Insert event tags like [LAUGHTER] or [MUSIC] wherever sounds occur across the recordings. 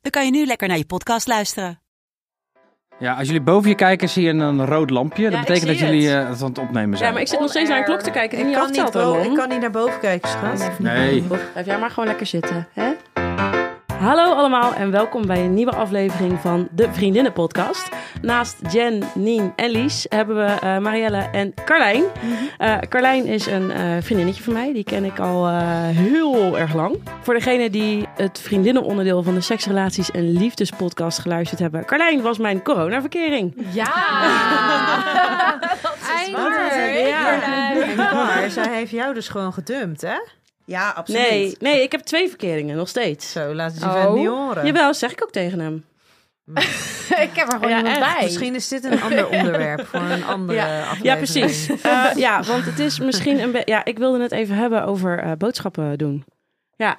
dan kan je nu lekker naar je podcast luisteren. Ja, als jullie boven je kijken, zie je een rood lampje. dat ik betekent dat zie jullie het. eh, het aan het opnemen zijn. Ja, maar ik zit nog steeds naar een klok te kijken die Ik niet kan niet, aftelt. bo- Ramon. ik kan niet naar boven kijken, schat. Nee. Blijf jij maar gewoon lekker zitten, hè? Hallo allemaal en welkom bij een nieuwe aflevering van de Vriendinnen Podcast. Naast Jen, Nien en Lies hebben we eh, Marielle en Carlijn. Eh, Carlijn is een eh, vriendinnetje van mij, die ken ik al eh, heel erg lang. Voor degene die het vriendinnenonderdeel van de Seksrelaties en Liefdespodcast geluisterd hebben. Carlijn was mijn coronaverkering. Ja! [LAUGHS] dat is waar. En Bar, zij heeft jou dus gewoon gedumpt, hè? Ja, absoluut. Nee, nee, ik heb twee verkeringen, nog steeds. Zo, laat het je Oh. vent niet horen. Jawel, zeg ik ook tegen hem. Ik heb er gewoon Ja, iemand echt. bij. Misschien is dit een [LAUGHS] ander onderwerp voor een andere aflevering. Ja, precies. [LAUGHS] Eh, ja, want het is misschien een beetje... Ja, ik wilde het even hebben over eh, boodschappen doen. Ja,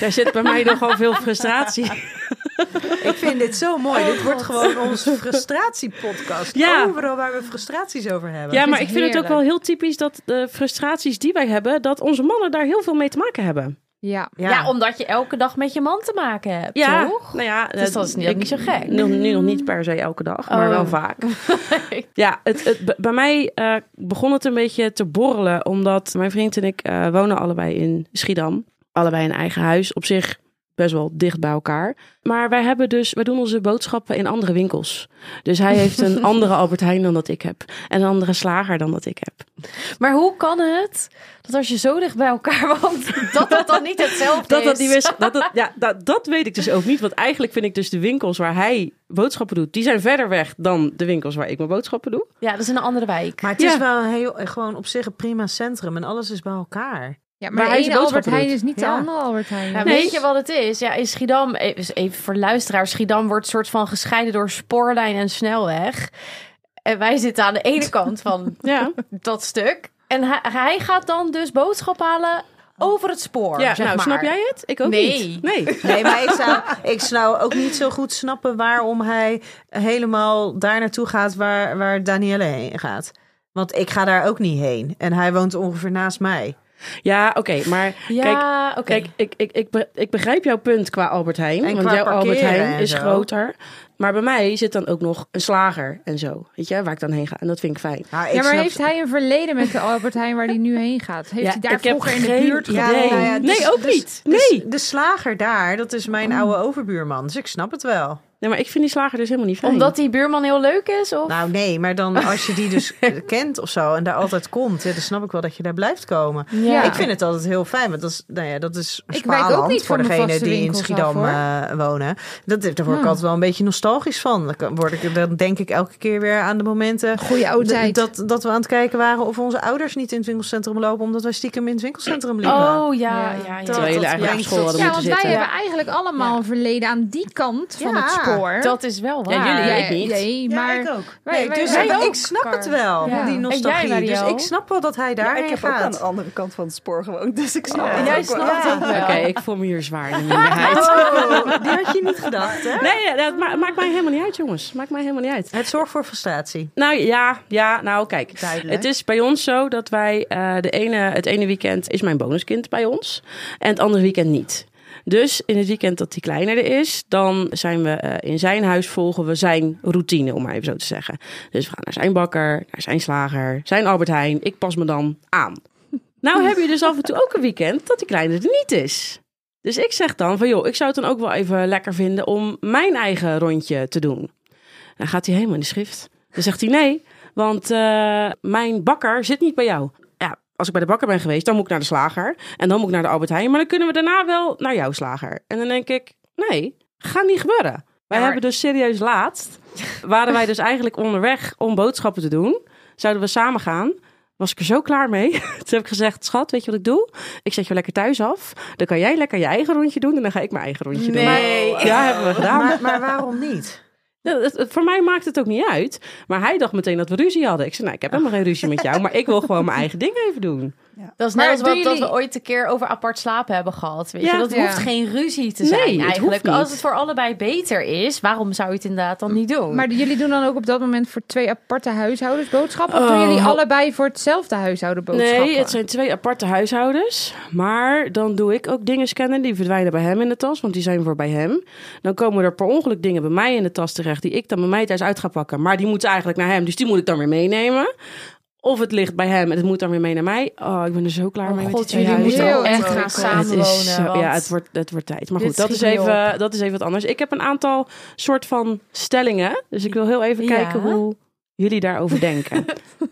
daar zit bij mij nogal veel [LAUGHS] frustratie. Ik vind dit zo mooi. dit wordt gewoon onze frustratiepodcast. Oh, Ja. Overal waar we frustraties over hebben. Ja, maar het ik vind het ook heerlijk. wel heel typisch dat de frustraties die wij hebben... dat onze mannen daar heel veel mee te maken hebben. Ja. Ja. Ja. omdat je elke dag met je man te maken hebt, Ja, toch? nou ja, Dus dat is niet, ook niet zo gek. Nu, nu nog niet per se elke dag, maar Oh. wel vaak. ja, het, het, b- bij mij eh, begon het een beetje te borrelen. Omdat mijn vriend en ik eh, wonen allebei in Schiedam. Allebei een eigen huis. Op zich best wel dicht bij elkaar. Maar wij hebben dus, wij doen onze boodschappen in andere winkels. Dus hij heeft een andere Albert Heijn dan dat ik heb. En een andere slager dan dat ik heb. Maar hoe kan het dat als je zo dicht bij elkaar [LAUGHS] woont, dat dat dan niet hetzelfde Dat is? dat niet is. Dat, dat, ja, dat, dat weet ik dus ook niet. Want eigenlijk vind ik dus de winkels waar hij boodschappen doet, die zijn verder weg dan de winkels waar ik mijn boodschappen doe. Ja, dat is in een andere wijk. Maar het Ja. is wel heel, gewoon op zich een prima centrum en alles is bij elkaar. Ja, Waar maar de hij zijn ene Albert boodschappen Heijn doet. is niet Ja. de andere Albert Heijn. Ja, Nee. Nou, Weet je wat het is? Ja, in Schiedam, even even voor luisteraars, Schiedam wordt soort van gescheiden door spoorlijn en snelweg. En wij zitten aan de ene kant van [LAUGHS] Ja. dat stuk. En hij, hij gaat dan dus boodschap halen over het spoor. Ja, zeg nou, maar. snap jij het? Ik ook Nee. niet. Nee. Nee, maar ik zou, ik zou ook niet zo goed snappen waarom hij helemaal daar naartoe gaat waar, waar Danielle heen gaat. Want ik ga daar ook niet heen. En hij woont ongeveer naast mij. [LAUGHS] Ja, oké, maar kijk, Ja, oké. kijk ik, ik, ik, be- ik begrijp jouw punt qua Albert Heijn. En want qua jouw Albert parkeren Heijn en is zo. groter. Maar bij mij zit dan ook nog een slager en zo. Weet je, waar ik dan heen ga. En dat vind ik fijn. Nou, ik Ja, maar snap- heeft hij een verleden met de Albert Heijn waar hij nu heen gaat? Heeft Ja, hij daar ik heb vroeger in geen de buurt idee. gewoond? nou ja, Nee, ook niet. dus Nee. de slager daar, dat is Oh. mijn oude overbuurman. Dus ik snap het wel. Nee, maar ik vind die slager dus helemaal niet fijn. Omdat die buurman heel leuk is? Of? Nou nee, maar dan als je die [LAUGHS] dus kent of zo en daar altijd komt, ja, dan snap ik wel dat je daar blijft komen. Ja. Ik vind het altijd heel fijn, want dat is, nou ja, dat is wijk Spaarland ook niet voor van mijn degene vaste die in winkels af, Schiedam hoor. eh, wonen. Dat, daar word ik altijd wel een beetje nostalgisch van. Dan kan- word ik, dan denk ik elke keer weer aan de momenten Goeie oude d- tijd. dat, dat we aan het kijken waren of onze ouders niet in het winkelcentrum lopen, omdat wij stiekem in het winkelcentrum liepen. oh ja, Ja. ja, ja. Terwijl jullie dat eigenlijk op brengt school tot- hadden Ja, moeten want zitten. wij hebben eigenlijk allemaal een verleden aan die kant van Ja, het spoor. Dat is wel waar. Ja, jullie Ja, ik niet. nee, maar ik ook. wij- Nee, wij- dus wij ik- ook, ik snap het wel, Ja. die En jij, nostalgie. dus Mario? ik snap wel dat hij Ja, daarheen ik heb ook aan de gaat. andere kant van het spoor gewoond, dus ik snap En het jij ook wel. snapt het wel. Oké, ik voel me hier zwaar in de minderheid. [LAUGHS] Oh, die had je niet gedacht, hè? Nee, ja, dat ma- maakt mij helemaal niet uit, jongens. Maakt mij helemaal niet uit. Het zorgt voor frustratie. Nou ja, ja, nou kijk. Duidelijk. Het is bij ons zo dat wij eh, de ene, het ene weekend is mijn bonuskind bij ons en het andere weekend niet. Dus in het weekend dat hij kleiner is, dan zijn we eh, in zijn huis volgen we zijn routine, om maar even zo te zeggen. Dus we gaan naar zijn bakker, naar zijn slager, zijn Albert Heijn. Ik pas me dan aan. Nou heb je dus af en toe ook een weekend dat die kleine er niet is. Dus ik zeg dan van joh, ik zou het dan ook wel even lekker vinden om mijn eigen rondje te doen. Dan gaat hij helemaal in de schrift. Dan zegt hij nee, want eh, mijn bakker zit niet bij jou. Ja, als ik bij de bakker ben geweest, dan moet ik naar de slager. En dan moet ik naar de Albert Heijn. Maar dan kunnen we daarna wel naar jouw slager. En dan denk ik, nee, gaat niet gebeuren. Wij hebben dus serieus laatst, waren wij dus eigenlijk onderweg om boodschappen te doen. Zouden we samen gaan. was ik er zo klaar mee. [LAUGHS] Toen heb ik gezegd, schat, weet je wat ik doe? Ik zet je lekker thuis af. Dan kan jij lekker je eigen rondje doen en dan ga ik mijn eigen rondje Nee. doen. Ja, hebben we gedaan. Maar, maar waarom niet? Ja, het- het- voor mij maakt het ook niet uit. Maar hij dacht meteen dat we ruzie hadden. Ik zei, nou, ik heb helemaal geen ruzie met jou, maar ik wil gewoon mijn eigen ding even doen. Dat is Maar net als wat doen dat we jullie- ooit een keer over apart slapen hebben gehad. Weet Ja. je, dat Ja. hoeft geen ruzie te Nee, zijn het hoeft eigenlijk. niet. Als het voor allebei beter is, waarom zou je het inderdaad dan niet doen? Maar jullie doen dan ook op dat moment voor twee aparte huishoudens boodschappen? Of Oh. doen jullie allebei voor hetzelfde huishouden boodschappen? Nee, het zijn twee aparte huishoudens. Maar dan doe ik ook dingen scannen die verdwijnen bij hem in de tas, want die zijn voor bij hem. Dan komen er per ongeluk dingen bij mij in de tas terecht die ik dan bij mij thuis uit ga pakken. Maar die moeten eigenlijk naar hem, dus die moet ik dan weer meenemen. Of het ligt bij hem en het moet dan weer mee naar mij. Oh, ik ben er zo klaar mee oh met die god, twee jullie huishoudens. moeten Heel ook echt gaan ingewikkeld. Het samenwonen. is zo- ja, want- het wordt, het wordt tijd. Maar dit goed, dat is, schiet niet even, dat is even wat anders. Ik heb een aantal soort van stellingen. Dus ik wil heel even Ja. kijken hoe jullie daarover [LAUGHS] denken.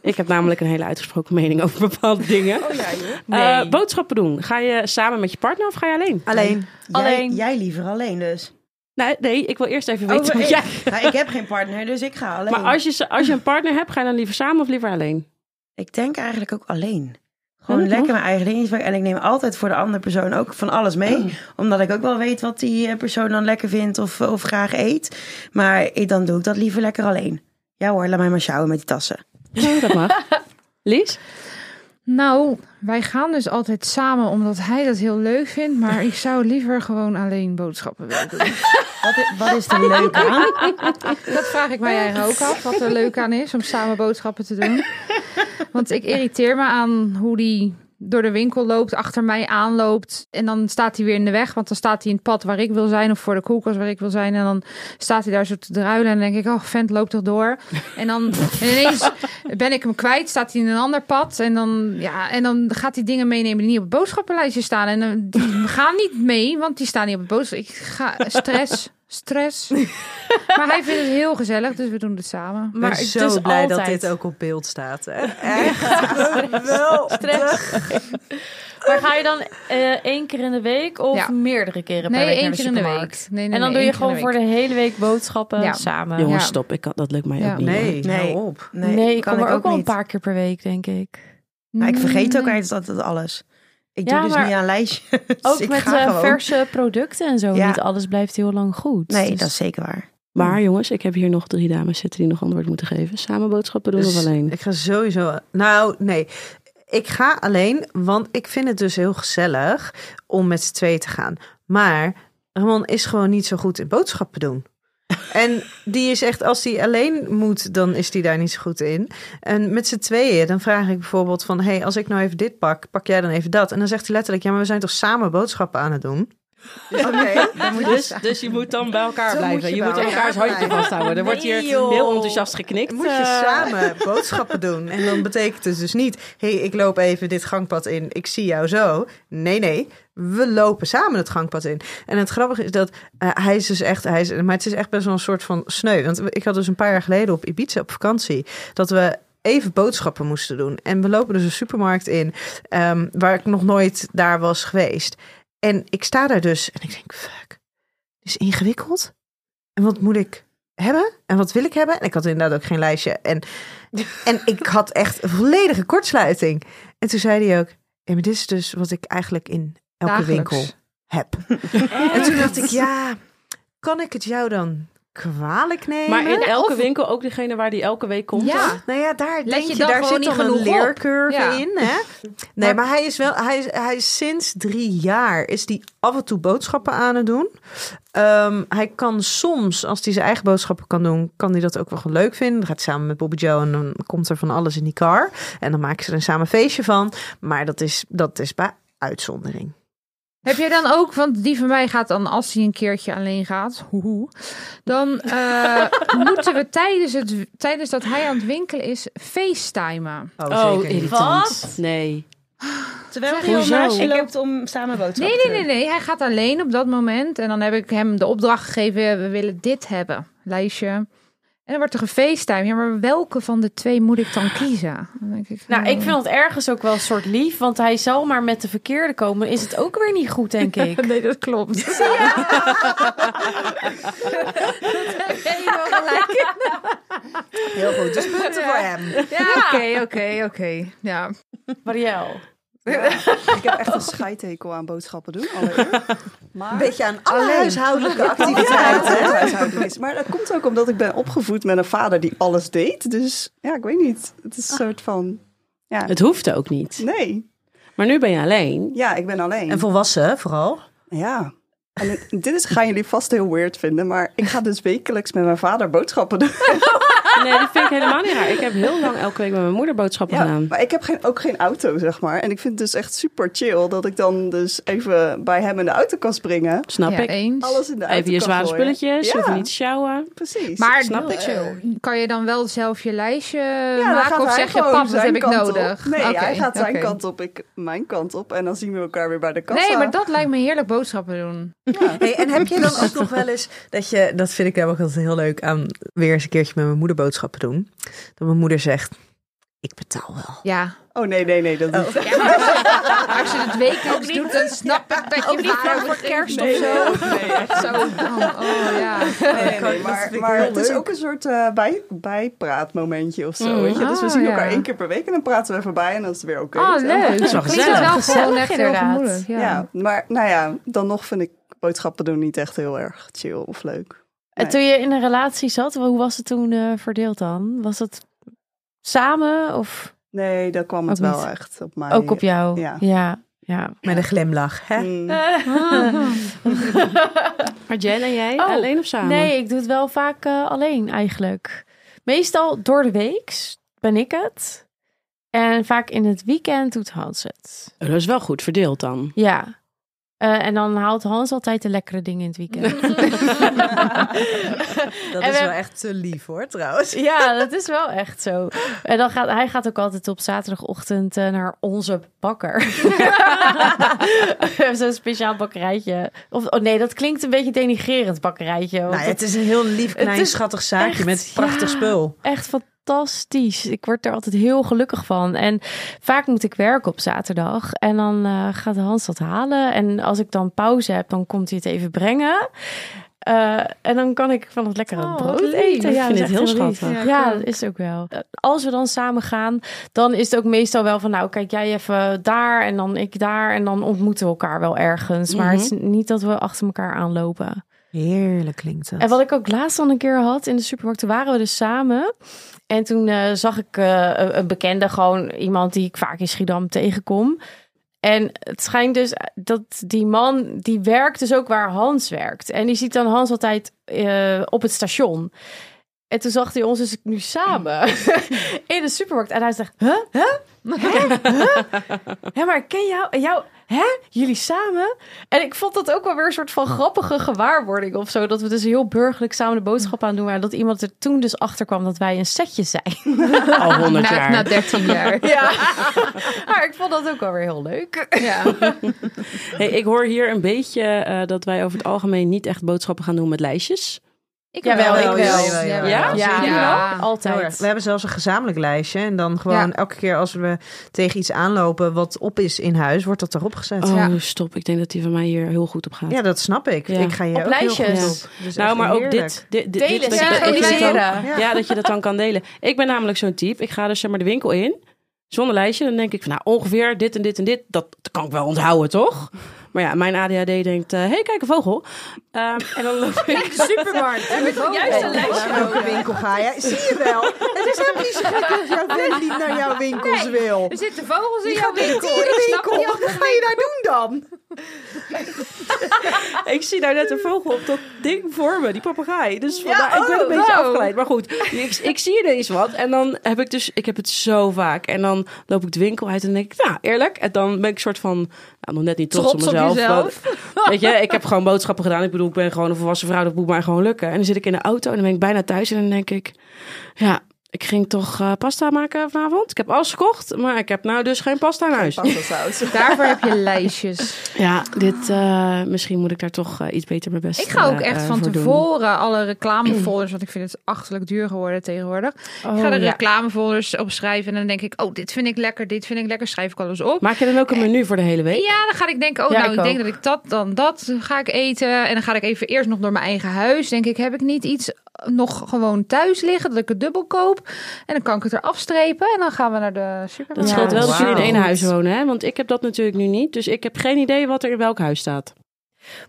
ik heb namelijk een hele uitgesproken mening over bepaalde dingen. Oh, Nee. Eh, boodschappen doen. Ga je samen met je partner of ga je alleen? Alleen. Alleen. Jij, jij liever alleen dus. Nee, nee ik wil eerst even weten Over wat ik. jij... Nou, ik heb geen partner, dus ik ga alleen. Maar als je, als je een partner hebt, ga je dan liever samen of liever alleen? Ik denk eigenlijk ook alleen. Gewoon Hm, lekker mijn eigen dingetje pakken. En ik neem altijd voor de andere persoon ook van alles Oh. mee. Omdat ik ook wel weet wat die eh, persoon dan lekker vindt of, eh, of graag eet. Maar ik, dan doe ik dat liever lekker alleen. Ja hoor, laat mij maar sjouwen met die tassen. Ja, [LAUGHS] dat mag. Lies? Nou, wij gaan dus altijd samen omdat hij dat heel leuk vindt. Maar ik zou liever gewoon alleen boodschappen willen doen. Wat is, wat is [LAUGHS] er leuk aan? Dat vraag ik mij eigenlijk ook af, wat er leuk aan is om samen boodschappen te doen. Want ik irriteer me aan hoe die door de winkel loopt, achter mij aanloopt. En dan staat hij weer in de weg, want dan staat hij in het pad waar ik wil zijn... of voor de koelkast waar ik wil zijn. En dan staat hij daar zo te druilen en dan denk ik, oh, vent, loopt toch door. En dan en ineens ben ik hem kwijt, staat hij in een ander pad. En dan, ja, en dan gaat hij dingen meenemen die niet op het boodschappenlijstje staan. En dan, die gaan niet mee, want die staan niet op het boodschap. Ik ga, stress, stress. Maar hij vindt het heel gezellig, dus we doen het samen. Maar maar ik ben het zo is blij dat altijd- dit ook op beeld staat. [LAUGHS] hè. Echt wel. Maar ga je dan eh, één keer in de week of Ja. meerdere keren per Nee, week één naar de keer in de supermarkt? week. Nee, nee, en dan nee, doe één je keer in gewoon de voor de hele week boodschappen Ja. samen. Jongens, Ja. stop. Ik kan, dat lukt mij Ja. ook niet. Nee, Nee. nee. hou op. Nee, ik kan kom er ook wel een niet. paar keer per week, denk ik. Maar ik vergeet ook Nee. eigenlijk altijd alles. Ik Ja, doe dus maar niet aan lijstjes. Ook Dus [LAUGHS] ik met ga eh, gewoon. verse producten en zo. Ja. Niet alles blijft heel lang goed. Nee, Dus- dat is zeker waar. Maar jongens, ik heb hier nog drie dames zitten die nog antwoord moeten geven. Samen boodschappen doen of Dus alleen? Ik ga sowieso. Nou, nee. Ik ga alleen, want ik vind het dus heel gezellig om met z'n tweeën te gaan. Maar Ramon is gewoon niet zo goed in boodschappen doen. En die is echt, als die alleen moet, dan is die daar niet zo goed in. En met z'n tweeën, dan vraag ik bijvoorbeeld van... hey, als ik nou even dit pak, pak jij dan even dat? En dan zegt hij letterlijk, ja, maar we zijn toch samen boodschappen aan het doen? Oh, Oké, Dus, dus je moet dan bij elkaar Dan blijven. moet je, je moet bij elkaars elkaar handje blijven. vasthouden. Er wordt hier Nee, joh. heel enthousiast geknikt. Moet je Eh, samen boodschappen doen. En dan betekent het dus niet... hé, hey, ik loop even dit gangpad in, ik zie jou zo. Nee, nee, we lopen samen het gangpad in. En het grappige is dat eh, hij is dus echt... Hij is, maar het is echt best wel een soort van sneu. Want ik had dus een paar jaar geleden op Ibiza op vakantie... dat we even boodschappen moesten doen. En we lopen dus een supermarkt in... ehm, waar ik nog nooit daar was geweest. En ik sta daar dus en ik denk, fuck, dit is Dus ingewikkeld. En wat moet ik hebben? En wat wil ik hebben? En ik had inderdaad ook geen lijstje. En, en ik had echt een volledige kortsluiting. En toen zei hij ook, ja, maar dit is dus wat ik eigenlijk in elke Dagelijks. winkel heb. En toen dacht ik, ja, kan ik het jou dan kwalijk nemen? Maar in elke of- winkel, ook degene waar die elke week komt. Ja. dan? Nou ja, daar, denk je je, dan daar gewoon zit niet dan een genoeg op? leercurve Ja. in. Hè? Nee, maar hij is wel, hij is, hij is sinds drie jaar is die af en toe boodschappen aan het doen. Ehm, hij kan soms, als hij zijn eigen boodschappen kan doen, kan hij dat ook wel gewoon leuk vinden. Dan gaat hij samen met Bobby Joe en dan komt er van alles in die car. En dan maken ze er een samen feestje van. Maar dat is, dat is bij uitzondering. Heb jij dan ook, want die van mij gaat dan als hij een keertje alleen gaat, hoehoe, [LAUGHS] dan eh, moeten we tijdens, het, tijdens dat hij aan het winkelen is, facetimen. Oh, niet. irritant. Wat? Nee. Terwijl Zeg, hij al hoezo? naast je Ik loopt om samen boodschappen Nee, te nee, doen. nee, nee. Hij gaat alleen op dat moment. En dan heb ik hem de opdracht gegeven, we willen dit hebben. Lijstje. En dan wordt er gefacetimed. Ja, maar welke van de twee moet ik dan kiezen? Dan denk ik, Nou, eh, ik vind dat ergens ook wel een soort lief. Want hij zal maar met de verkeerde komen. Is het ook weer niet goed, denk ik. [LAUGHS] Nee, dat klopt. [LAUGHS] Heel goed, dus punten voor hem. Ja, oké, oké, oké. Ja. [LAUGHS] Marielle. Ik heb echt een scheidhekel aan boodschappen doen. Allereerst. [LAUGHS] Een Maar beetje aan alle Alleen. huishoudelijke Ja, activiteiten. dat is huishoudelijk is. Maar dat komt ook omdat ik ben opgevoed met een vader die alles deed. Dus ja, ik weet niet. Het is een Ah. soort van. Ja, Het hoeft ook niet. nee. Maar nu ben je alleen. Ja, ik ben alleen. En volwassen vooral. Ja. En het- dit is, gaan jullie vast heel weird vinden, maar ik ga dus wekelijks met mijn vader boodschappen doen. Nee, dat vind ik helemaal niet raar. Ik heb heel lang elke week met mijn moeder boodschappen Ja, gedaan. maar ik heb geen, ook geen auto, zeg maar. En ik vind het dus echt super chill dat ik dan dus even bij hem in de auto kan springen. Snap Ja, ik. eens. Alles in de auto Even je kan zware gooien. spulletjes, Ja, hoef je niet te sjouwen. precies. Maar snap ik. eh, kan je dan wel zelf je lijstje dan gaat maken Eh, of hij zeg je gewoon pap, dat zijn heb ik kant op." nodig? Nee, Oké, hij gaat zijn oké. kant op, ik mijn kant op. En dan zien we elkaar weer bij de kassa. Nee, maar dat lijkt me heerlijk boodschappen doen. Hey, en heb je dan [LAUGHS] ook nog wel eens dat je, dat vind ik namelijk altijd heel leuk aan weer eens een keertje met mijn moeder boodschappen doen. Dat mijn moeder zegt, ik betaal wel. Ja. Oh nee, nee, nee. Dat [LAUGHS] niet. Maar [LAUGHS] als je het wekelijks doet, dan snap ik dat je vader voor kerst Nee, zo. [LAUGHS] nee, echt Zo, oh, oh, ja. Nee, nee, nee, maar, vind ik maar heel het is leuk. ook een soort eh, bij, bijpraatmomentje of zo. Weet je? Dus we Oh, zien elkaar ja. één keer per week en dan praten we even bij en dat is weer oké. Oh, weet je wel. leuk. wel Klinkt gezellig. wel gewoon Gezellig, echt heel inderdaad. gemoedelijk. Ja. Ja. maar nou ja, dan nog vind ik boodschappen doen niet echt heel erg chill of leuk. En Eh, toen je in een relatie zat, hoe was het toen eh, verdeeld dan? Was het samen of Nee, dan kwam het Ook wel niet. echt op mij. ook op jou? ja. ja. ja. Met een glimlach, hè? Mm. Maar Jen en jij, Oh, alleen of samen? Nee, ik doe het wel vaak eh, alleen eigenlijk. Meestal door de week ben ik het. En vaak in het weekend doet Hans het. Oh, Dat is wel goed verdeeld [LAUGHS] dan. Ja. Eh, en dan haalt Hans altijd de lekkere dingen in het weekend. Dat En is we- wel echt te lief hoor, trouwens. ja, dat is wel echt zo. En dan gaat, hij gaat ook altijd op zaterdagochtend eh, naar onze bakker. We hebben zo'n speciaal bakkerijtje. Of, oh nee, dat klinkt een beetje denigrerend, bakkerijtje. want Nou, dat- het is een heel lief, klein, is schattig zaakje echt, met prachtig ja. spul. echt fantastisch. Ik word er altijd heel gelukkig van. En vaak moet ik werken op zaterdag. En dan eh, gaat Hans dat halen. En als ik dan pauze heb, dan komt hij het even brengen. Eh, en dan kan ik van het lekkere Oh, wat brood lief. eten. Ik Ja, vind dat het is echt heel heel lief. schattig. Ja, Ja, dat is ook wel. Eh, Als we dan samen gaan, dan is het ook meestal wel van... nou, kijk jij even daar en dan ik daar. En dan ontmoeten we elkaar wel ergens. Mhm. Maar het is niet dat we achter elkaar aanlopen. Heerlijk klinkt dat. En wat ik ook laatst al een keer had in de supermarkt, toen waren we dus samen. En toen eh, zag ik eh, een- een bekende, gewoon iemand die ik vaak in Schiedam tegenkom. En het schijnt dus dat die man, die werkt dus ook waar Hans werkt. En die ziet dan Hans altijd eh, op het station. En toen zag hij ons dus nu samen [LAUGHS] in de supermarkt. En hij zegt, huh? Huh? Hè? Huh? Hè, maar ik ken jou, jou, hè? Jullie samen? En ik vond dat ook wel weer een soort van grappige gewaarwording of zo. Dat we dus heel burgerlijk samen de boodschap aan doen waren. Dat iemand er toen dus achter kwam dat wij een setje zijn. Al honderd Na, jaar. na [LAUGHS] 13 jaar. Ja. [LAUGHS] maar ik vond dat ook wel weer heel leuk. Ja. Hey, ik hoor hier een beetje eh, dat wij over het algemeen niet echt boodschappen gaan doen met lijstjes. Ik Jawel, ik wel. Ja? Ja? Ja? Ja. jullie wel? We Altijd. hebben zelfs een gezamenlijk lijstje. En dan gewoon Ja. elke keer als we tegen iets aanlopen wat op is in huis, wordt dat erop gezet. Oh, Ja. stop. Ik denk dat die van mij hier heel goed op gaat. Ja, dat snap ik. Ja. Ik ga je Op ook heel lijstjes. goed op. Dus nou, echt maar ook heerlijk. dit. dit, dit, dit Delen, dat je dat- synchroniseren. Ja. Ja, dat je dat dan kan delen. Ik ben namelijk zo'n type. Ik ga dus zeg maar de winkel in. Zonder lijstje. Dan denk ik van nou ongeveer dit en dit en dit. Dat kan ik wel onthouden toch? Maar ja, mijn ADHD denkt. Hé, hey, kijk een vogel. Ehm, en dan loop ik. Supermarkt. Heb ik juist een Naar welke winkel ga je? Zie je wel. Het is helemaal niet zo gek als jouw vriend niet naar jouw winkels wil. Er zitten vogels in Die jouw gaat naar die winkel. Ik snap winkel. niet Wat ga je daar doen dan? ik zie nou net een vogel op dat ding voor me, die papegaai. Dus vandaar, oh, ik ben een beetje wow. afgeleid. Maar goed, ik, ik zie er eens wat. En dan heb ik dus, ik heb het zo vaak. En dan loop ik de winkel uit en denk ik, nou eerlijk. En dan ben ik soort van, nou, nog net niet trots, Trots op op mezelf. [LAUGHS] jezelf. want, weet je, ik heb gewoon boodschappen gedaan. Ik bedoel, ik ben gewoon een volwassen vrouw, dat moet mij gewoon lukken. En dan zit ik in de auto en dan ben ik bijna thuis. En dan denk ik, ja, ik ging toch eh, pasta maken vanavond. Ik heb alles gekocht, maar ik heb nou dus geen pasta in huis. [LAUGHS] Pastasaus. Daarvoor heb je lijstjes. Ja, dit, eh, misschien moet ik daar toch eh, iets beter mijn best [LAUGHS] Ik ga ook eh, echt eh, van voor doen. tevoren alle reclamefolders, want ik vind het achterlijk duur geworden tegenwoordig. ik ga Oh, de ja. reclamefolders opschrijven en dan denk ik, oh, dit vind ik lekker, dit vind ik lekker, schrijf ik alles op. Maak je dan ook een menu voor de hele week? Ja, dan ga ik denken, oh, Ja, nou, ik ik, denk ook. dat ik dat, dan dat ga ik eten. En dan ga ik even eerst nog door mijn eigen huis. Denk ik, heb ik niet iets nog gewoon thuis liggen, dat ik het dubbel koop. En dan kan ik het er afstrepen en dan gaan we naar de supermarkt. Dat scheelt wel dat jullie in één Wauw. huis wonen, hè? Want ik heb dat natuurlijk nu niet. Dus ik heb geen idee wat er in welk huis staat.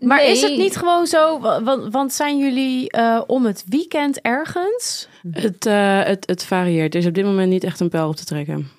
Maar Nee. is het niet gewoon zo, wa- want, want zijn jullie eh, om het weekend ergens? Het, eh, het, het varieert. Er is op dit moment niet echt een pijl op te trekken.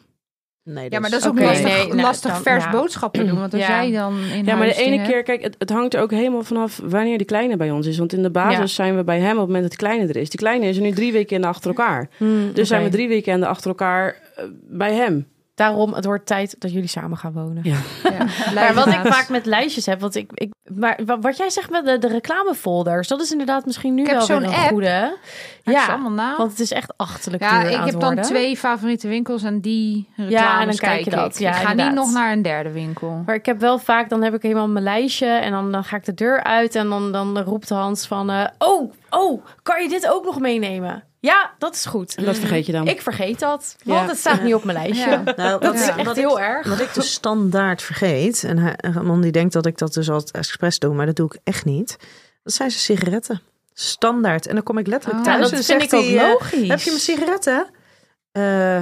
Nee, Ja, maar dat is ook Oké. lastig, Nee, nou, lastig dan- vers ja. boodschappen doen. Want als Ja. jij dan in Ja, maar de huis ene dingen- keer, kijk, het, het hangt er ook helemaal vanaf wanneer de kleine bij ons is. Want in de basis Ja. zijn we bij hem op het moment dat de kleine er is. De kleine is er nu drie weekenden achter elkaar. Dus zijn we drie weekenden achter elkaar eh, bij hem. Daarom, het wordt tijd dat jullie samen gaan wonen. Ja. Ja, Maar wat ik lijstjes. vaak met lijstjes heb, want ik, ik, maar wa- wat jij zegt met de, de reclamefolders, dat is inderdaad misschien nu Ik heb wel zo'n weer een app. goede. Ja, ik zie Ja, allemaal na. want het is echt achterlijk Ja, duur ik aan heb het dan worden. twee favoriete winkels en die reclames Ja, en dan kijk je ik. dat. Ja, ik ga inderdaad. niet nog naar een derde winkel. Maar ik heb wel vaak, dan heb ik helemaal mijn lijstje en dan, dan ga ik de deur uit en dan, dan roept Hans van, eh, oh, oh, kan je dit ook nog meenemen? Ja, dat is goed. En dat vergeet je dan. Ik vergeet dat, want Ja. het staat niet op mijn lijstje. Ja. Nou, Dat is wat- echt wat heel ik, erg. Wat ik dus standaard vergeet, en hij- en Ramon die denkt dat ik dat dus altijd expres doe, maar dat doe ik echt niet. Dat zijn zijn sigaretten. Standaard. En dan kom ik letterlijk Oh. thuis Ja, dat en vind zegt ik ook hij, eh, logisch. heb je mijn sigaretten? Eh,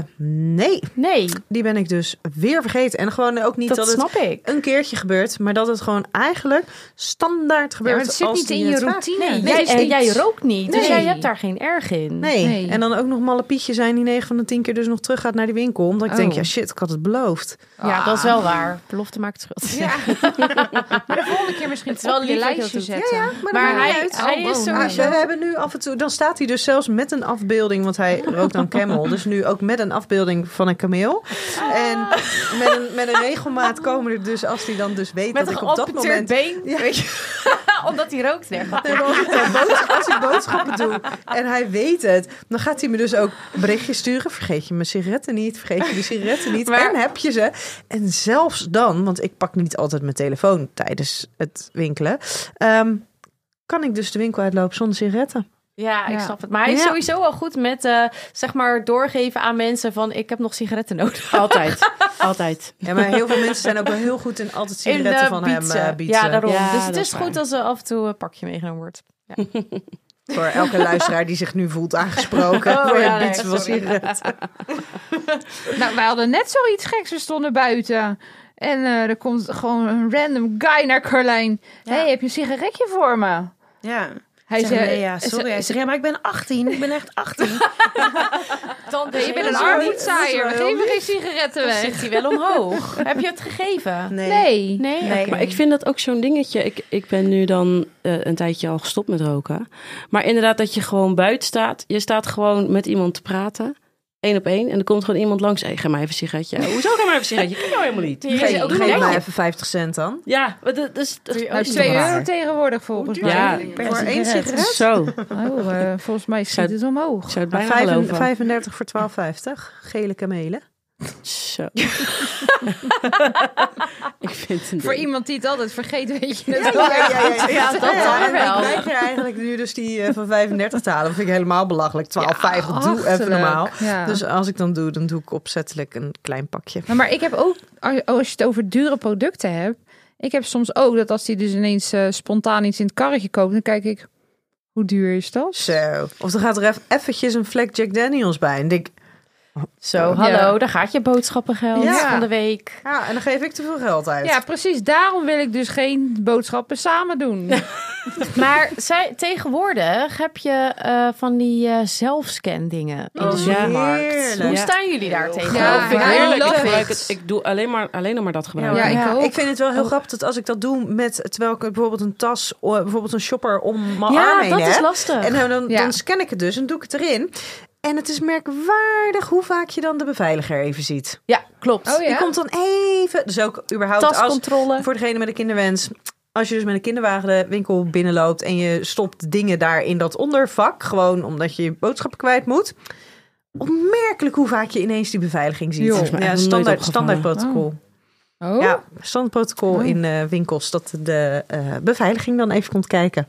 nee, Nee, die ben ik dus weer vergeten. En gewoon ook niet dat, dat, het snap ik. een keertje gebeurt, maar dat het gewoon eigenlijk standaard Ja, gebeurt. maar het zit als niet die in je het vraagt. routine. Nee, Het jij, is en niet- jij rookt niet, dus Nee. jij hebt daar geen erg in. Nee. Nee. en dan ook nog malle Pietje zijn die 9 van de 10 keer dus nog terug gaat naar die winkel. Omdat ik denk, Oh. ja shit, ik had het beloofd. Ja, dat is wel waar. Ah, Belofte maakt schuld. [LAUGHS] Ja. maar de volgende keer misschien Het is wel op je lief dat je dat lijstje doet. zetten. maar, Maar hij, hij, hij is wow. Ah, sowieso... we hebben nu af en toe, dan staat hij dus zelfs met een afbeelding, want [LAUGHS] hij rookt dan camel. Dus nu ook met een afbeelding van een kameel. Ah. En met een, met een regelmaat komen er dus, als hij dan dus weet Met dat een ik op dat geamputeerd moment... been, Ja. weet je. omdat hij rookt. Nee, maar- Nee, maar als ik, dan boodsch- als ik boodschappen doe en hij weet het, dan gaat hij me dus ook berichtjes sturen. Vergeet je mijn sigaretten niet, vergeet je die sigaretten niet. Maar- En heb je ze. En zelfs dan, want ik pak niet altijd mijn telefoon tijdens het winkelen, ehm, kan ik dus de winkel uitlopen zonder sigaretten. Ja, ik Ja. snap het. Maar hij is Ja. sowieso al goed met, eh, zeg maar, doorgeven aan mensen van... ik heb nog sigaretten nodig. Oh, Altijd. [LAUGHS] Altijd. Ja, maar heel veel mensen zijn ook wel heel goed in altijd sigaretten eh, van hem bietsen. eh, bieten. Ja, daarom. Ja, dus het dat is is waar. goed als er af en toe een pakje meegenomen wordt. Voor elke luisteraar die zich nu voelt aangesproken Oh, door ja, het nee, bietsen van sorry. sigaretten. Nou, wij hadden net zoiets geks. We stonden buiten. En eh, er komt gewoon een random guy naar Carlijn. hey, heb je een sigaretje voor me? Ja. Hij Zeg, zei... nee, ja, sorry. Hij zegt, ja, maar ik ben 18. Ik ben echt 18. [LAUGHS] Dan Je bent een Zo armoedzaaier. We geven geen sigaretten weg. zit hij wel omhoog. heb je het gegeven? Nee. Nou, Nee? oké. Maar ik vind dat ook zo'n dingetje. Ik, ik ben nu dan eh, een tijdje al gestopt met roken. Maar inderdaad, dat je gewoon buiten staat. Je staat gewoon met iemand te praten. Eén op één. En er komt gewoon iemand langs. Hey, ga maar even een sigaretje. Hoezo ga maar even een sigaretje? Ik ken jou helemaal niet. Geef- Doe Geef nou. mij even 50 cent dan. Ja, maar dat dat is... dat- Nou, is 2 euro tegenwoordig volgens mij. Ja, Per Voor één sigaret. sigaret. zo. Ik Oh, eh, volgens mij schiet Zou- het omhoog. zou het bijna Vijf- geloven. 35 voor 12,50. Gele kamelen. Zo. [LAUGHS] ik vind het een Voor ding. iemand die het altijd vergeet, weet je het Ja, ja, ja, ja, Ja, dat dan en wel. Ik kijk er eigenlijk nu dus die eh, van 35 te halen. Dat vind ik helemaal belachelijk. 12,50. doe even achterlijk. normaal. Ja. Dus als ik dan doe, dan doe ik opzettelijk een klein pakje. Nou, maar ik heb ook, als- oh, als je het over dure producten hebt, ik heb soms ook dat als die dus ineens eh, spontaan iets in het karretje koopt, dan kijk ik, hoe duur is dat? Zo. Of dan gaat er even eventjes een vlek Jack Daniels bij. En denk, Zo, hallo, daar gaat je boodschappengeld Ja. van de week. ja, en dan geef ik te veel geld uit. Ja, precies. Daarom wil ik dus geen boodschappen samen doen. Maar zij, tegenwoordig heb je eh, van die eh, zelfscan dingen in de Oh, supermarkt. heerlijk. Hoe Ja. staan jullie daar tegen? Ja, vind ik I heerlijk. love Ik gebruik it. het- Ik doe alleen maar, alleen nog maar dat gebruiken. Ja, ik ook. Ik vind het wel heel grappig dat als ik dat doe met terwijl ik bijvoorbeeld een tas, eh, bijvoorbeeld een shopper om mijn arm Ja, heen dat is heb. lastig. En dan, dan, Ja. dan scan ik het dus en doe ik het erin. En het is merkwaardig hoe vaak je dan de beveiliger even ziet. Ja, klopt. Oh ja? Die komt dan even. Dus ook überhaupt Nou, als Tascontrole. voor degene met een kinderwens. Als je dus met een kinderwagen de winkel binnenloopt en je stopt dingen daar in dat ondervak, gewoon omdat je je boodschappen kwijt moet. Opmerkelijk hoe vaak je ineens die beveiliging ziet. Joh. Dat is me ja, echt nooit standaard, opgevallen. standaard protocol. Oh, Ja, standprotocol in eh, winkels dat de eh, beveiliging dan even komt kijken.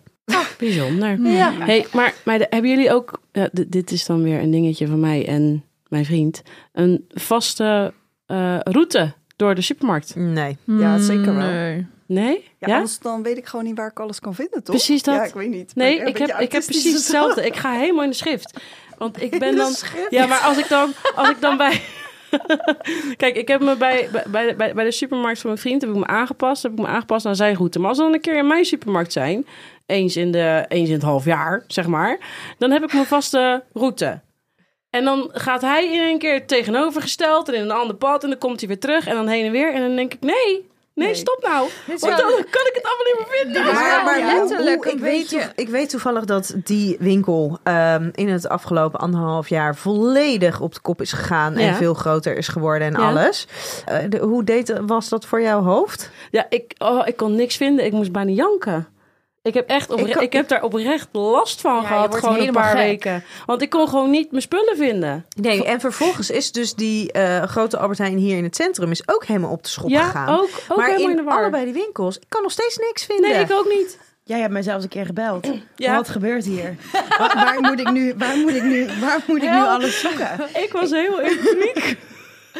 Bijzonder. Hey, maar meiden, hebben jullie ook, ja, d- dit is dan weer een dingetje van mij en mijn vriend, een vaste eh, route door de supermarkt? Nee. Mm, Ja, zeker wel. nee. Nee? Ja, Ja? Anders dan weet ik gewoon niet waar ik alles kan vinden, toch? Precies dat. Ja, ik weet niet. Nee, Ben ik een heb, beetje ik heb autistisch precies of zo? hetzelfde. Ik ga helemaal in de schrift. Want ik ben dan... Ja, maar als ik dan, als ik dan bij... [LAUGHS] Kijk, ik heb me bij, bij, bij, bij de supermarkt van mijn vriend heb ik me aangepast. Heb ik me aangepast aan zijn route. Maar als ze dan een keer in mijn supermarkt zijn, eens in, de, eens in het half jaar, zeg maar, dan heb ik mijn vaste route. En dan gaat hij in een keer tegenovergesteld en in een ander pad. En dan komt hij weer terug en dan heen en weer. En dan denk ik, nee, nee, stop nou. Dit is Want dan wel- kan ik het allemaal niet meer vinden. Ja, Maar, maar hoe- letterlijk hoe- een ik, weet beetje- toe- ik weet toevallig dat die winkel ehm, in het afgelopen anderhalf jaar volledig op de kop is gegaan Ja. en veel groter is geworden en Ja. alles. Eh, de- hoe deed, was dat voor jouw hoofd? Ja, ik, oh, ik kon niks vinden. Ik moest bijna janken. Ik heb, echt opre- Ik ik, kan- heb daar oprecht last van je gehad, wordt gewoon een helemaal paar gek. weken. Want ik kon gewoon niet mijn spullen vinden. Nee, en vervolgens is dus die eh, grote Albert Heijn hier in het centrum is ook helemaal op de schop ja, gegaan. ook, ook maar helemaal in, in, de war. allebei die winkels, ik kan nog steeds niks vinden. nee, ik ook niet. Jij hebt mij zelfs een keer gebeld. Ja. Wat gebeurt hier? waar, waar moet ik nu, waar moet ik nu, waar moet ik nu Help. alles zoeken? Ik was heel in paniek.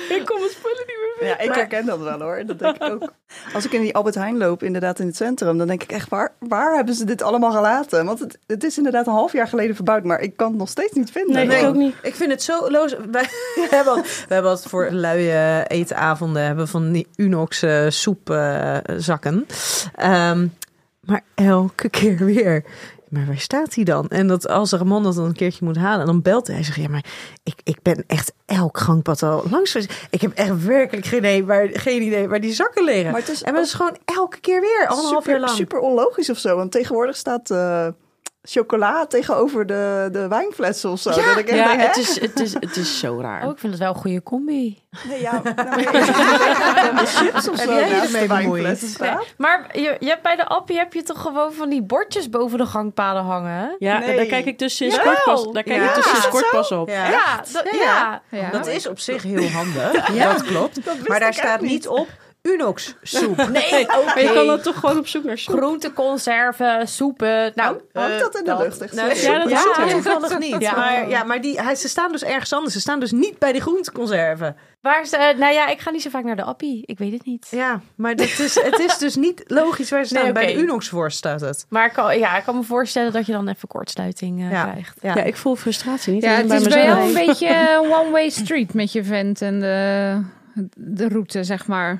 ik kon mijn spullen niet meer vinden. Ja, ik herken dat wel hoor. Dat denk ik ook. Als ik in die Albert Heijn loop, inderdaad in het centrum, dan denk ik echt, waar, waar hebben ze dit allemaal gelaten? Want het, het is inderdaad een half jaar geleden verbouwd, maar ik kan het nog steeds niet vinden. Nee, ik Gewoon. ook niet. Ik vind het zo loos. Wij, [LAUGHS] we hebben, al- we hebben wat voor luie etenavonden hebben we van die Unox eh, soep soepzakken. maar elke keer weer. Maar waar staat hij dan? En dat als Ramon dat dan een keertje moet halen, dan belt hij. Hij zegt, ja, maar ik, ik ben echt elk gangpad al langs. geweest. Ik heb echt werkelijk geen idee waar, geen idee waar die zakken liggen. Maar het is en dat is gewoon elke keer weer, anderhalf super, jaar lang. [LAUGHS] super onlogisch of zo. Want tegenwoordig staat eh, chocola tegenover de, de wijnflessen of zo. Dat ik echt Ja, denk, het hè? is, het, is, het is zo raar. Oh, ik vind het wel een goede combi. Nee, ja, nou, maar ja, [LAUGHS] de chips of Heb zo jij je naast ermee de bemoeid? wijnflessen staat. Maar je, je hebt bij de appie heb je toch gewoon van die bordjes boven de gangpaden hangen? hè? Ja, Nee. daar kijk ik dus sinds Jawel. kort pas, daar kijk Ja. ik dus sinds kort Zo? pas op. Ja. Ja, dat, ja. Ja, ja. Ja. Dat is op zich heel handig. Dat klopt. maar daar ik ook staat niet op Unox [LAUGHS] soep. Nee, Maar je kan dan toch gewoon op zoek naar soep. groenten, conserven, soepen. Nou, Hangt dat in de dat- lucht? Echt Nou, zo? Ja, dat ja, is het. toevallig niet. Ja. Maar, ja, maar die, hij, ze staan dus ergens anders. Ze staan dus niet bij de groenteconserven. waar is, eh, nou ja, ik ga niet zo vaak naar de appie. Ik weet het niet. Ja, maar dat is, het is dus niet logisch waar ze staan. Nee, oké. Bij de Unox-worst staat het. Maar ik kan, ja, ik kan me voorstellen dat je dan even kortsluiting eh, Ja. krijgt. Ja. Ja, ik voel frustratie niet. Ja, alleen het is bij mezelf. jou [LAUGHS] een beetje een one-way street met je vent en de, de route, zeg maar.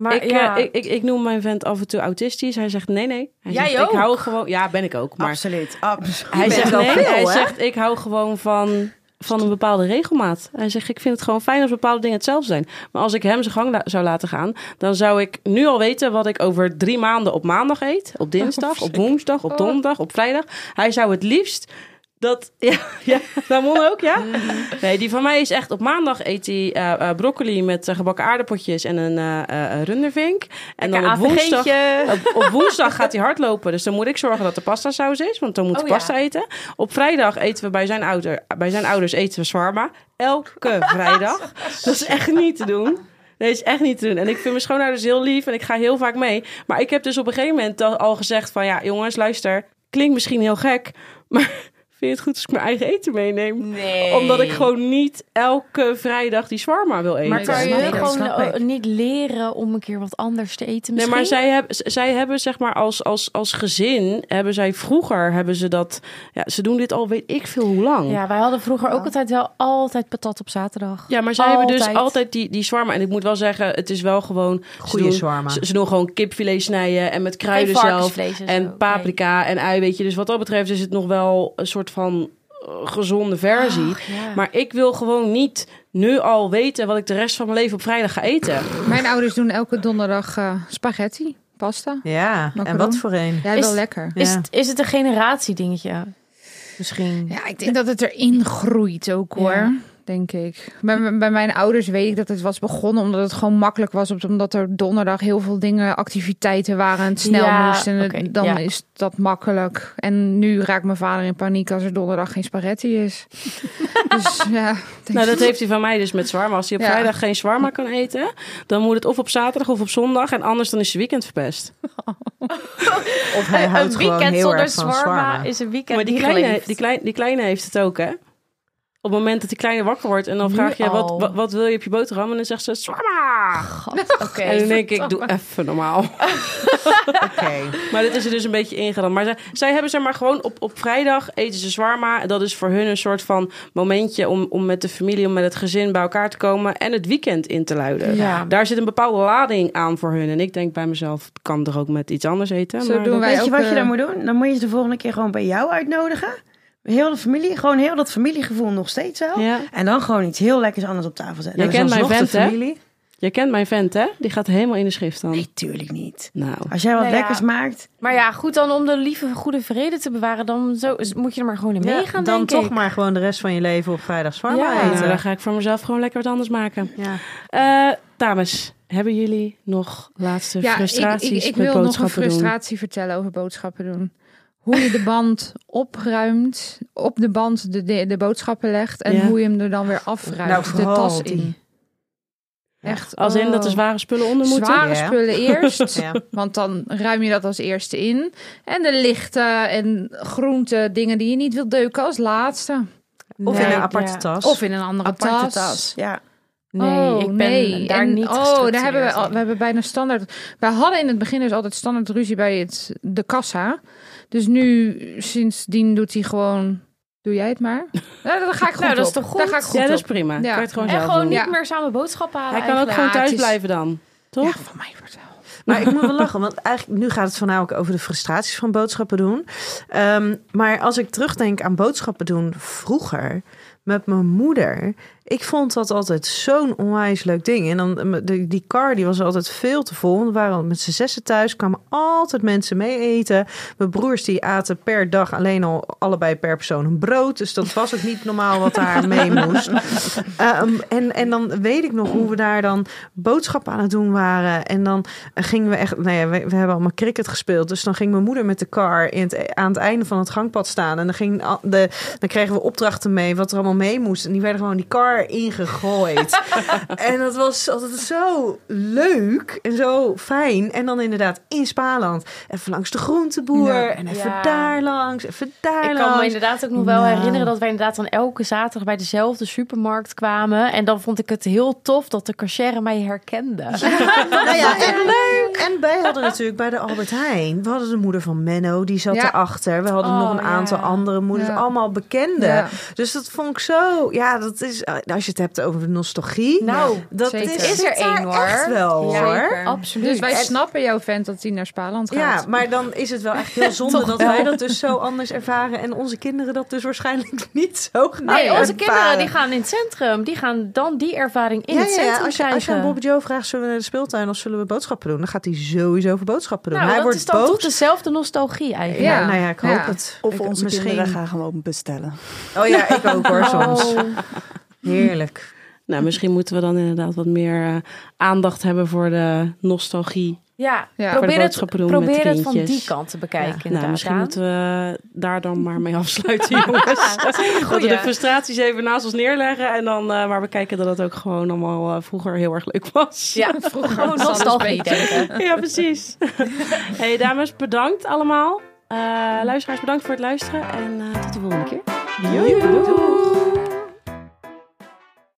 Maar ik, ja, eh, ik, ik, ik noem mijn vent af en toe autistisch. Hij zegt nee, nee. Hij Jij zegt, ook? Ik hou gewoon... Ja, ben ik ook. Maar Absoluut, Ah, absoluut. hij bent zegt wel nee. veel, hij hè? zegt ik hou gewoon van, van een bepaalde regelmaat. Hij zegt ik vind het gewoon fijn als bepaalde dingen hetzelfde zijn. Maar als ik hem zijn gang la- zou laten gaan... dan zou ik nu al weten wat ik over drie maanden op maandag eet. Oh, Op dinsdag, op woensdag, op donderdag, op vrijdag. Hij zou het liefst... Dat, [LAUGHS] ja, ja, Ramon ook, ja? Mhm. Nee, die van mij is echt... Op maandag eet hij eh, eh, broccoli met eh, gebakken aardappeltjes en een eh, eh, eh, rundervink. En dan op woensdag, Eh, op, op woensdag gaat hij hardlopen. Dus dan moet ik zorgen dat er pastasaus is. Want dan moet hij Oh, ja. pasta eten. Op vrijdag eten we bij zijn, ouder, bij zijn ouders eten we shawarma. Elke [LAUGHS] vrijdag. Dat is echt niet te doen. Nee, is echt niet te doen. En ik vind mijn schoonouders heel lief en ik ga heel vaak mee. Maar ik heb dus op een gegeven moment al- al gezegd van... Ja, jongens, luister. Klinkt misschien heel gek, maar... [LAUGHS] Vind je het goed als ik mijn eigen eten meeneem? nee. Omdat ik gewoon niet elke vrijdag die shawarma wil eten. Maar Kan je Nee, dat gewoon snap ik. eh, niet leren om een keer wat anders te eten Nee, misschien? maar zij hebben, z- zij hebben zeg maar als, als, als gezin, hebben zij vroeger, hebben ze dat, ja, ze doen dit al weet ik veel hoe lang. Ja. Ja, wij hadden vroeger ook altijd wel altijd patat op zaterdag. maar zij hebben dus Altijd. altijd die, die zwarma. En ik moet wel zeggen, het is wel gewoon... ze Goeie doen- shawarma. Ze, ze doen gewoon kipfilet snijden en met kruiden zelf. varkensvlees en zo, En nee. paprika en ui, weet je. Dus wat dat betreft is het nog wel een soort van eh, gezonde versie. ja. Maar ik wil gewoon niet nu al weten wat ik de rest van mijn leven op vrijdag ga eten. Mijn ouders doen elke donderdag eh, spaghetti, pasta. Ja, en Macaron. wat voor een? Jij Is- wel lekker. Is, Ja. het, is het een generatie dingetje? Misschien. Ja, ik denk dat het erin groeit ook hoor. Ja. Denk ik. Bij, bij mijn ouders weet ik dat het was begonnen omdat het gewoon makkelijk was. Omdat er donderdag heel veel dingen, activiteiten waren en het snel Ja, moest. En het- oké, dan ja. is dat makkelijk. En nu raakt mijn vader in paniek als er donderdag geen spaghetti [LAUGHS] is. dus ja. denk- Nou, dat heeft hij van mij dus met zwarma. Als hij op Ja. vrijdag geen zwarma kan eten, dan moet het of op zaterdag of op zondag. En anders dan is zijn weekend verpest. Of Eh, hij houdt gewoon heel erg van zwarma. is een weekend maar die kleine, die, klein, die kleine heeft het ook, hè? Op het moment dat die kleine wakker wordt en dan Nu vraag je wat, al. wat, wat wil je op je boterham? En dan zegt ze Swamma! God, oké. en dan denk ik, doe even normaal. [LAUGHS] Oké. Maar dit is er dus een beetje ingeramd. Maar zij, zij hebben zeg maar gewoon op, op vrijdag eten ze zwarma. Dat is voor hun een soort van momentje om, om met de familie, om met het gezin bij elkaar te komen en het weekend in te luiden. Ja. Daar zit een bepaalde lading aan voor hun. En ik denk bij mezelf, kan er ook met iets anders eten. Zo maar doen dat- wij Weet je ook, wat je eh, dan moet doen? Dan moet je ze de volgende keer gewoon bij jou uitnodigen. Heel de familie, gewoon heel dat familiegevoel nog steeds wel. Ja. En dan gewoon iets heel lekkers anders op tafel zetten. Jij Dan is kent mijn alsnog de vent, hè? familie. Je kent mijn vent, hè? Die gaat helemaal in de schrift dan. Nee, tuurlijk niet. Nou, Als jij wat Nou ja. lekkers maakt, Maar ja, goed dan om de lieve goede vrede te bewaren, dan zo, moet je er maar gewoon in meegaan, dan denk toch ik. maar gewoon de rest van je leven op vrijdag zwaar Ah, Ja. nou, dan eten. ga ik voor mezelf gewoon lekker wat anders maken. Ja. Eh, dames, hebben jullie nog laatste Ja, ik, frustraties ik, met ik wil nog een boodschappen doen? frustratie vertellen over boodschappen doen. Hoe je de band opruimt, op de band de, de, de boodschappen legt en Ja. hoe je hem er dan weer afruimt, Nou, de vooral tas die. in. Echt. Als in dat er oh. zware spullen onder moeten? Zware Ja. spullen [LAUGHS] eerst, Ja. want dan ruim je dat als eerste in. En de lichte en groente dingen die je niet wilt deuken als laatste. Of Nee, in een aparte ja. tas. Of in een andere aparte tas. tas. Ja. Nee, Oh, ik ben nee. daar En- niet Oh, daar gestructureerd hebben we, al- in. we hebben bijna standaard. Wij hadden in het begin dus altijd standaard ruzie bij het, de kassa. Dus nu, sindsdien doet hij gewoon. Doe jij het [LAUGHS] maar? Nou, daar ga ik goed Nou, dat is op. toch goed? Daar ga ik goed Ja, dat is op. prima. Ja. Kan je het gewoon En zelf gewoon doen. niet Ja. meer samen boodschappen halen. Hij kan ook eigenlijk. gewoon Ja, het thuis is- blijven dan. Toch? Ja, van mij wordt wel. Maar ik moet wel lachen, want eigenlijk nu gaat het voornamelijk over de frustraties van boodschappen doen. Ehm, maar als ik terugdenk aan boodschappen doen vroeger met mijn moeder, ik vond dat altijd zo'n onwijs leuk ding. En dan eh, de- die car die was altijd veel te vol. We waren met z'n zessen thuis, kwamen altijd mensen mee eten. Mijn broers die aten per dag alleen al allebei per persoon een brood. Dus dat was ook niet normaal wat daar mee moest. Ehm, en, en dan weet ik nog hoe we daar dan boodschappen aan het doen waren. En dan gingen we echt, nou ja, we, we hebben allemaal cricket gespeeld. Dus dan ging mijn moeder met de car in het, aan het einde van het gangpad staan. En dan, ging al- de, dan kregen we opdrachten mee, wat er allemaal mee moest. En die werden gewoon die car [LAUGHS] ingegooid. en dat was altijd zo leuk en zo fijn. En dan inderdaad in Spaland. Even langs de groenteboer. En even Ja. daar langs, even daar Ik kan me langs. inderdaad ook nog wel Nou. herinneren dat wij inderdaad dan elke zaterdag bij dezelfde supermarkt kwamen. En dan vond ik het heel tof dat de cashier mij herkende. Nou ja, en leuk. En wij hadden natuurlijk bij de Albert Heijn. We hadden de moeder van Menno, die zat Ja. erachter. We hadden Oh, nog een ja. aantal andere moeders, Ja. allemaal bekenden. Ja. Dus dat vond ik zo. Ja, dat is. Als je het hebt over nostalgie. Nou, dat zeker. Is, Is er zit daar één, hoor. Echt wel Ja, hoor. Absoluut. Dus wij En- snappen jouw vent dat hij naar Spaland gaat. Ja, maar dan is het wel echt [LAUGHS] heel zonde dat wij dat dus zo anders ervaren. En onze kinderen dat dus waarschijnlijk [LAUGHS] niet zo gaan Nee, onze ervaren. kinderen die gaan in het centrum. Die gaan dan die ervaring in Ja, het ja, ja. centrum Als, je, krijgen. als je aan Bobby Joe vraagt, zullen we naar de speeltuin of zullen we boodschappen doen? Dan gaat hij sowieso voor boodschappen doen. nou, hij dat wordt is dan boos. toch dezelfde nostalgie eigenlijk. Ja, Ja. nou ja, ik hoop Ja. het. Of Ik- onze kinderen gaan gewoon bestellen. Oh ja, ik ook [LAUGHS] hoor soms. Oh. Heerlijk. Nou, misschien moeten we dan inderdaad wat meer eh, aandacht hebben voor de nostalgie. Ja, Ja. Voor de probeer het, boodschappen doen met probeer de het van kindjes. die kant te bekijken. nou, inderdaad, misschien Daan. moeten we daar dan maar mee afsluiten, [LAUGHS] jongens. [LAUGHS] dat we de frustraties even naast ons neerleggen. En dan eh, maar bekijken dat het ook gewoon allemaal eh, vroeger heel erg leuk was. Ja, [LAUGHS] gewoon was alles nostalgie denken. [LAUGHS] Ja, [LAUGHS] precies. hey, dames, bedankt allemaal. Eh, luisteraars, bedankt voor het luisteren. En eh, tot de volgende keer. Doei.